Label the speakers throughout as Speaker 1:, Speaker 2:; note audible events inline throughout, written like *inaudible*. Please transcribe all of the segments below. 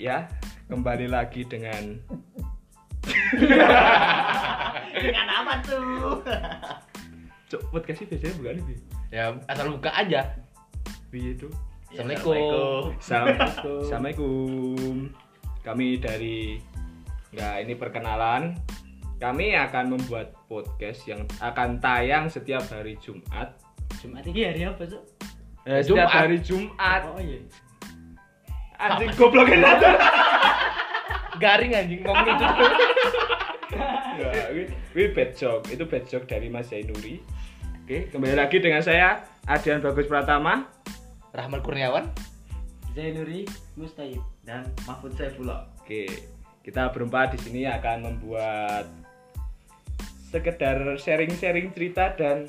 Speaker 1: ya kembali lagi dengan
Speaker 2: Dengan apa tuh?
Speaker 1: cok podcast sih biasanya bukan lebih
Speaker 3: Ya asal buka aja.
Speaker 1: Piye itu
Speaker 3: Assalamualaikum.
Speaker 1: Assalamualaikum. Assalamualaikum. Kami dari ya ini perkenalan. Kami akan membuat podcast yang akan tayang setiap hari Jumat.
Speaker 2: Jumat ini hari apa tuh?
Speaker 1: Eh,
Speaker 3: Jumat.
Speaker 1: Setiap hari Jumat. Oh.
Speaker 2: Oh iya.
Speaker 1: Anjing ya, goblokin aja.
Speaker 3: Garing anjing ngomong itu.
Speaker 1: Ya, wi- wi bad joke. Itu bad joke dari Mas Zainuri. Oke, kembali lagi dengan saya Adian Bagus Pratama.
Speaker 3: Rahmat Kurniawan.
Speaker 2: Zainuri Mustahib dan Mahfud Saifullah.
Speaker 1: Oke, kita berempat di sini akan membuat sekedar sharing-sharing cerita dan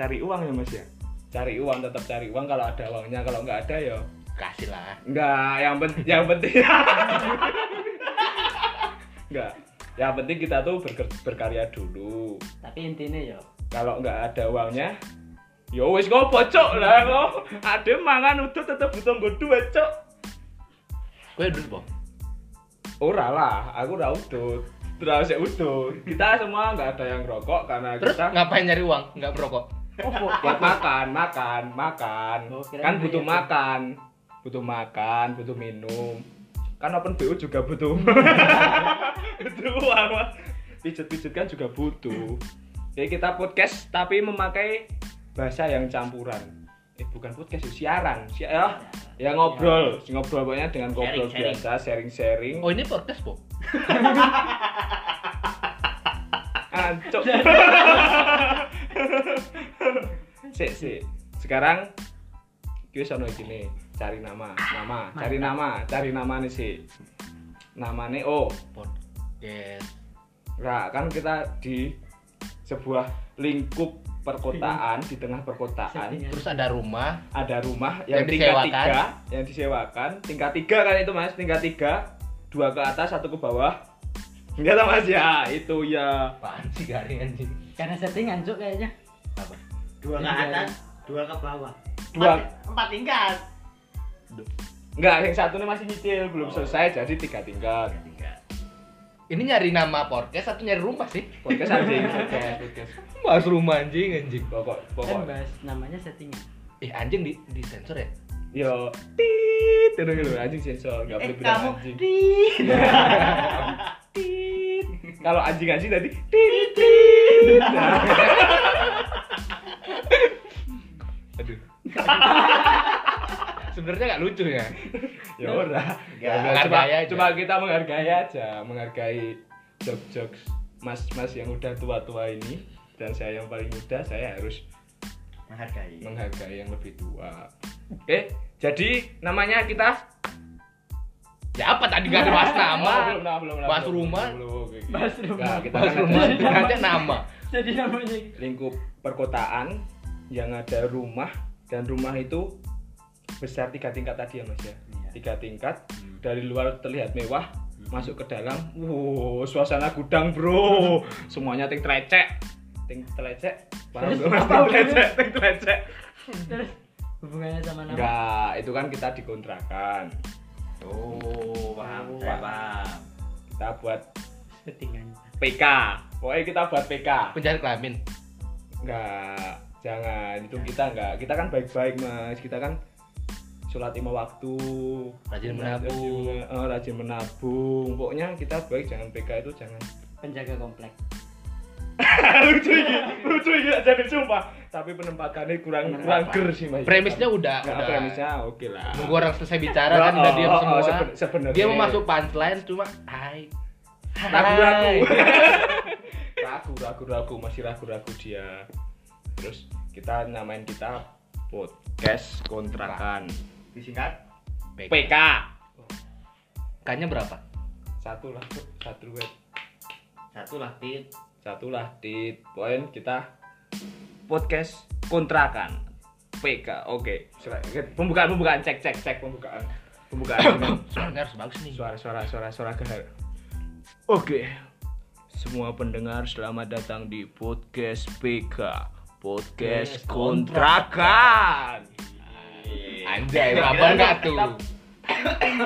Speaker 1: cari uang ya mas ya. Cari uang tetap cari uang kalau ada uangnya kalau nggak ada ya
Speaker 3: Kasih lah.
Speaker 1: nggak. Yang penting yang penting *laughs* nggak. Yang penting kita tuh berker- berkarya dulu.
Speaker 2: Tapi intinya ya,
Speaker 1: Kalau nggak ada uangnya, yo wis kok pocok lah kok. Ada mangan udah tetap butuh gue duit cok.
Speaker 3: Gue dulu, Bang.
Speaker 1: Ora lah, aku ora udut. Terus ya udut. Kita semua nggak ada yang rokok karena
Speaker 3: Terus
Speaker 1: *laughs* kita
Speaker 3: ngapain nyari uang? Enggak merokok.
Speaker 1: opo buat makan, makan, makan.
Speaker 2: Oh, kirain
Speaker 1: kan butuh
Speaker 2: banyak.
Speaker 1: makan, butuh makan, butuh minum. Kan open BU juga
Speaker 2: *laughs*
Speaker 1: butuh. butuh uang. Mas. Pijet-pijet kan juga butuh. Jadi kita podcast tapi memakai bahasa yang campuran. Eh bukan podcast, siaran. Si ya, ya ngobrol, ngobrol pokoknya dengan ngobrol
Speaker 2: Iya. Sharing, sharing.
Speaker 1: biasa, sharing-sharing.
Speaker 3: Oh, ini podcast, Bang.
Speaker 1: Ancok. *laughs* Sik, sik. Sekarang kuwi sono gini, cari nama, nama, cari nama, cari nama nih sih. Namane oh,
Speaker 3: Podcast.
Speaker 1: ra kan kita di sebuah lingkup perkotaan di tengah perkotaan
Speaker 2: Settingan.
Speaker 3: Terus ada rumah.
Speaker 1: ada rumah yang,
Speaker 3: Yang
Speaker 1: tingkat
Speaker 3: disewakan.
Speaker 1: tiga yang disewakan tingkat tiga kan itu mas tingkat tiga dua ke atas satu ke bawah enggak tahu mas ya itu ya
Speaker 3: Apaan sih garing anjing?
Speaker 2: karena settingan cuk kayaknya.
Speaker 3: Apa?
Speaker 4: dua ke atas dua ke bawah
Speaker 1: dua
Speaker 4: empat, empat tingkat
Speaker 1: Enggak, yang satunya masih nyicil, belum selesai, jadi tiga tingkat.
Speaker 2: Kan
Speaker 3: Ini nyari nama podcast atau nyari rumah sih?
Speaker 1: Podcast anjing, podcast, podcast.
Speaker 3: Bahas rumah anjing anjing.
Speaker 1: Pokok,
Speaker 2: Kan
Speaker 1: pokok.
Speaker 2: bahas namanya settingan.
Speaker 3: Eh anjing di di sensor ya?
Speaker 1: Yo, tit, terus gitu anjing sensor, enggak boleh
Speaker 4: eh
Speaker 1: bilang
Speaker 4: kamu
Speaker 1: anjing.
Speaker 4: di
Speaker 1: Tit. Kalau anjing anjing tadi tit
Speaker 4: *laughs*
Speaker 1: tit. Aduh.
Speaker 3: Sebenarnya nggak lucu ya.
Speaker 1: Ya ora.
Speaker 3: Menghargai
Speaker 1: Cuma,
Speaker 3: aja.
Speaker 1: cuma kita menghargai aja, menghargai jokes-jokes mas-mas yang udah tua-tua ini dan saya yang paling muda, saya harus
Speaker 4: menghargai
Speaker 1: menghargai yang lebih tua. Oke, jadi namanya kita
Speaker 3: Ya apa tadi gak ada bahas nama?
Speaker 1: *laughs* belum, nah, belum, nah,
Speaker 3: Bahas
Speaker 1: belum,
Speaker 3: rumah.
Speaker 1: belum, belum, oke, oke.
Speaker 2: Bahas rumah.
Speaker 1: Nah, kita
Speaker 3: Bahas
Speaker 1: kan
Speaker 3: rumah
Speaker 1: ada
Speaker 3: nanti nama.
Speaker 2: *laughs* Jadi namanya
Speaker 1: lingkup perkotaan yang ada rumah dan rumah itu besar tiga tingkat tadi ya mas ya
Speaker 2: Iya.
Speaker 1: tiga tingkat dari luar terlihat mewah masuk ke dalam wow suasana gudang bro semuanya ting trecek ting trecek paham gak mas ting trecek ting trecek
Speaker 2: terus hubungannya sama nama.
Speaker 1: enggak itu kan kita dikontrakan
Speaker 3: Oh,
Speaker 4: paham
Speaker 2: Oh,
Speaker 4: saya paham
Speaker 1: kita buat
Speaker 2: Settingan.
Speaker 1: PK pokoknya kita buat PK
Speaker 3: Penjara kelamin.
Speaker 1: Iya, enggak jangan itu kita enggak kita kan baik-baik mas kita kan sholat lima waktu
Speaker 3: Rajin menabung.
Speaker 1: Eh, rajin menabung pokoknya kita baik jangan PK itu
Speaker 3: *laughs*
Speaker 1: jangan
Speaker 2: Penjaga komplek.
Speaker 1: lucu ini lucu ini nggak jadi sumpah tapi penempatannya kurang kurang ger sih mas
Speaker 3: Premisnya udah
Speaker 1: Nah,
Speaker 3: udah.
Speaker 1: premisnya oke lah
Speaker 3: Nunggu orang selesai bicara kan
Speaker 1: Oh,
Speaker 3: udah diam
Speaker 1: oh, oh,
Speaker 3: semua.
Speaker 1: seben- sebenarnya.
Speaker 3: Dia mau masuk punchline cuma hai.
Speaker 1: ragu
Speaker 3: *laughs*
Speaker 1: ragu
Speaker 3: Hai.
Speaker 1: ragu ragu ragu masih ragu ragu dia terus kita namain kita podcast kontrakan
Speaker 4: disingkat
Speaker 3: PK.
Speaker 1: PK
Speaker 3: Kayaknya berapa?
Speaker 1: satu lah Cuk. satu web
Speaker 4: satu lah tit
Speaker 1: satu lah di poin kita podcast kontrakan PK oke Sila- pembukaan pembukaan cek cek cek pembukaan *coughs* pembukaan dengan
Speaker 3: Soalnya harus bagus nih.
Speaker 1: suara suara suara suara gahar oke semua pendengar selamat datang di podcast PK podcast kontrakan
Speaker 3: Anjay, apa enggak tuh?
Speaker 1: Kita-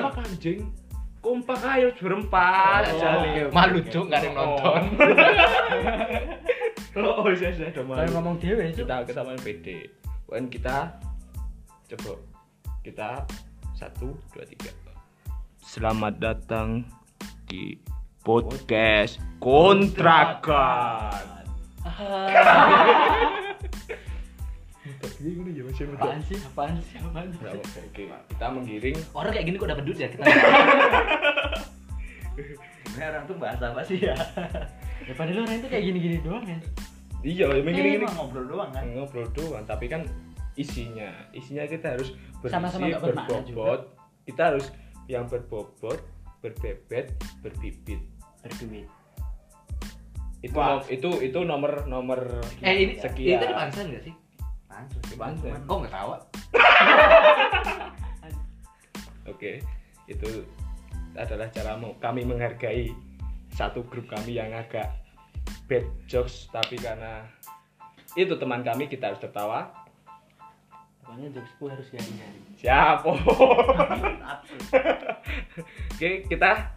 Speaker 1: kompak anjing kompak ayo berempat
Speaker 2: Oh,
Speaker 1: jali.
Speaker 2: oke, oke.
Speaker 3: Malu cuk gak ada yang
Speaker 4: *laughs*
Speaker 3: nonton.
Speaker 1: oh iya iya udah
Speaker 2: Kalau
Speaker 1: malu
Speaker 2: ngomong dewe itu
Speaker 1: kita kita main PD UN kita coba kita satu dua tiga selamat datang di podcast kontrakan tapi ini ya masih
Speaker 2: Ah. apaan sih? Apaan sih? Apaan sih?
Speaker 1: oke kita menggiring
Speaker 3: Orang kayak gini kok dapat duit ya kita. *laughs*
Speaker 4: Orang tuh bahas apa sih ya?
Speaker 2: Ya padahal orang itu kayak gini-gini doang ya.
Speaker 1: iya menggiring ini
Speaker 4: Emang ngobrol doang kan.
Speaker 1: ngobrol doang tapi kan isinya isinya kita harus berisi
Speaker 2: Sama-sama nggak bermakna
Speaker 1: berbobot kita harus yang berbobot berbebet berbibit
Speaker 2: Berduit.
Speaker 1: itu
Speaker 4: Wah.
Speaker 1: nom- itu itu nomor nomor
Speaker 3: eh ini ini
Speaker 1: sekian
Speaker 3: tadi pansan gak sih?
Speaker 4: Pansus.
Speaker 1: Pansus.
Speaker 4: cuman-
Speaker 3: Kok gak tawa?
Speaker 1: oke itu adalah cara mau kami menghargai satu grup kami yang agak bad jokes tapi karena itu teman kami kita harus tertawa
Speaker 2: Pokoknya jokesku harus garing-garing.
Speaker 1: siap
Speaker 4: Absurd.
Speaker 1: *laughs* Oke, kita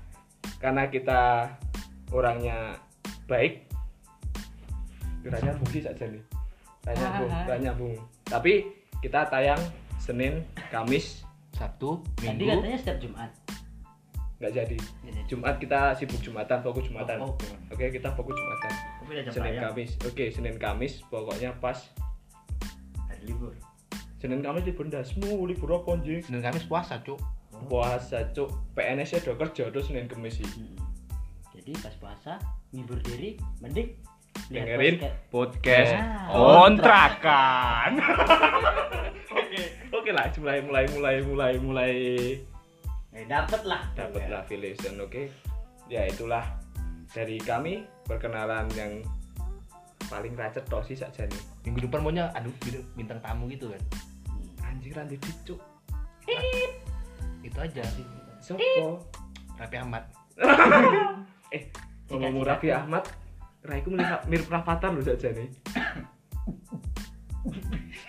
Speaker 1: karena kita orangnya baik. Ora nyambung sih saja nih. Ora
Speaker 2: Ah,
Speaker 1: nyambung, ora nyambung. Tapi kita tayang Senin, Kamis,
Speaker 3: Sabtu,
Speaker 2: Tadi
Speaker 4: kan-
Speaker 3: Minggu.
Speaker 2: katanya setiap Jumat.
Speaker 1: nggak jadi.
Speaker 2: Nggak jadi.
Speaker 1: Jumat kita sibuk Jumatan, fokus Jumatan.
Speaker 2: Oh, oke.
Speaker 1: Oke, kita fokus Jumatan.
Speaker 4: Tapi udah jam
Speaker 1: Senin,
Speaker 4: tayang.
Speaker 1: Kamis. Oke, Senin, Kamis pokoknya pas
Speaker 4: Hari libur.
Speaker 1: Senin, Kamis libur ndasmu, libur apa anjing?
Speaker 3: Senin Kamis puasa cuk.
Speaker 1: Puasa, cuk. PNS-nya do kerja terus Senin, Kamis sih.
Speaker 2: Mm-mm. Hmm. Jadi pas puasa ngibur diri mending lihat
Speaker 1: dengerin
Speaker 2: basket.
Speaker 1: podcast
Speaker 3: Ya.
Speaker 2: Ah.
Speaker 1: kontrakan. Oke, oke lah, mulai mulai mulai mulai mulai
Speaker 4: Eh dapet lah.
Speaker 2: Iya.
Speaker 1: dapatlah Philipson, oke. Ya itulah dari kami perkenalan yang paling racet toh sih saja nih.
Speaker 3: Minggu depan maunya aduh bintang- bintang tamu gitu kan.
Speaker 1: Anjir randi dicuk.
Speaker 3: Itu aja sih.
Speaker 1: Sopo?
Speaker 3: Rapi amat.
Speaker 1: Eh,
Speaker 2: Jika-
Speaker 1: ngomong
Speaker 2: jika-
Speaker 1: Raffi Ahmad, Raiku mirip, mirip Rafathar loh saja nih.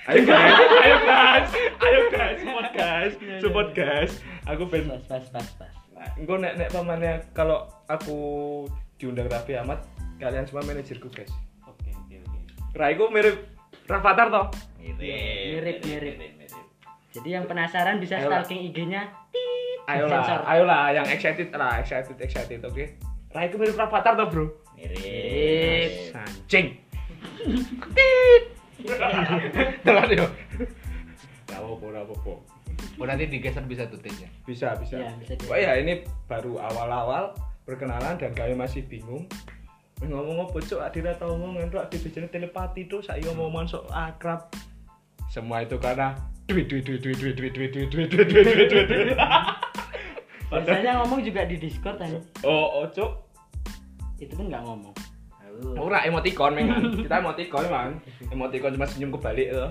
Speaker 1: ayo guys, ayo guys, ayo guys, support guys, support guys. Aku pengen
Speaker 2: Pas pas pas pas.
Speaker 1: Gue nek nek pamannya kalau aku diundang Raffi Ahmad, kalian semua manajerku guys.
Speaker 4: Oke oke oke.
Speaker 1: Raiku mirip Rafathar toh.
Speaker 2: Mirip, Iya, mirip. Jadi yang penasaran bisa
Speaker 1: Ayo.
Speaker 2: stalking IG-nya. Tit. Sensor.
Speaker 1: Ayolah, ayolah yang excited lah, excited excited oke. Raiku mirip Rafathar toh, Bro.
Speaker 2: Iya,
Speaker 4: Mirip.
Speaker 1: Anjing.
Speaker 3: Telat yo.
Speaker 1: Gak apa-apa, gak apa-apa.
Speaker 3: Oh nanti digeser bisa tuh tipnya.
Speaker 1: Bisa, bisa.
Speaker 2: Iya, bisa
Speaker 1: Wah ya ini baru awal-awal perkenalan dan kami masih bingung ngomong apa cok adira tau ngomongan tuh adira jadi telepati tuh saya ngomongan sok akrab semua itu karena duit duit duit duit duit duit duit duit duit duit duit duit duit duit
Speaker 2: iya,
Speaker 1: Padahal-
Speaker 2: Biasanya ngomong juga di Discord kan.
Speaker 1: *laughs* oh oh cok
Speaker 2: Itu pun nggak ngomong.
Speaker 1: ora emoticon mengan kita emoticon man emoticon cuma senyum kebalik tuh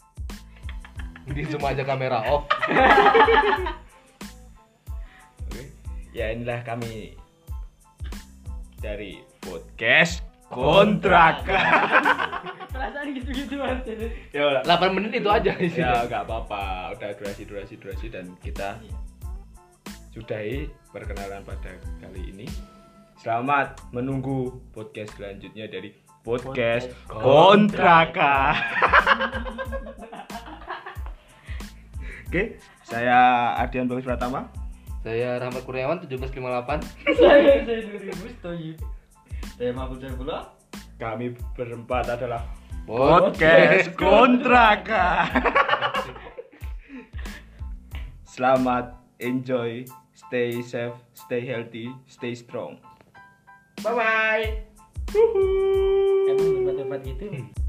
Speaker 2: *laughs*
Speaker 3: Jadi semua aja kamera off.
Speaker 1: Oke. Ya inilah kami dari podcast kontrakan
Speaker 2: *laughs* Perasaan gitu-gitu aja.
Speaker 1: ya udah
Speaker 3: 8 menit itu aja
Speaker 1: ya
Speaker 3: isinya.
Speaker 1: nggak apa-apa udah durasi durasi durasi dan kita sudahi perkenalan pada kali ini selamat menunggu podcast selanjutnya dari podcast,
Speaker 2: Podcast
Speaker 1: kontrakan oke saya Ardian Bagus Pratama
Speaker 3: Saya Rahmat Kurniawan 1758.
Speaker 2: Saya saya dari Bustoy.
Speaker 4: Saya mabuk dari pulau.
Speaker 1: kami berempat adalah
Speaker 3: Podcast
Speaker 1: *laughs* kontrakan selamat enjoy stay safe stay healthy stay strong
Speaker 4: Bye bye.
Speaker 2: Emang berbuat-buat gitu.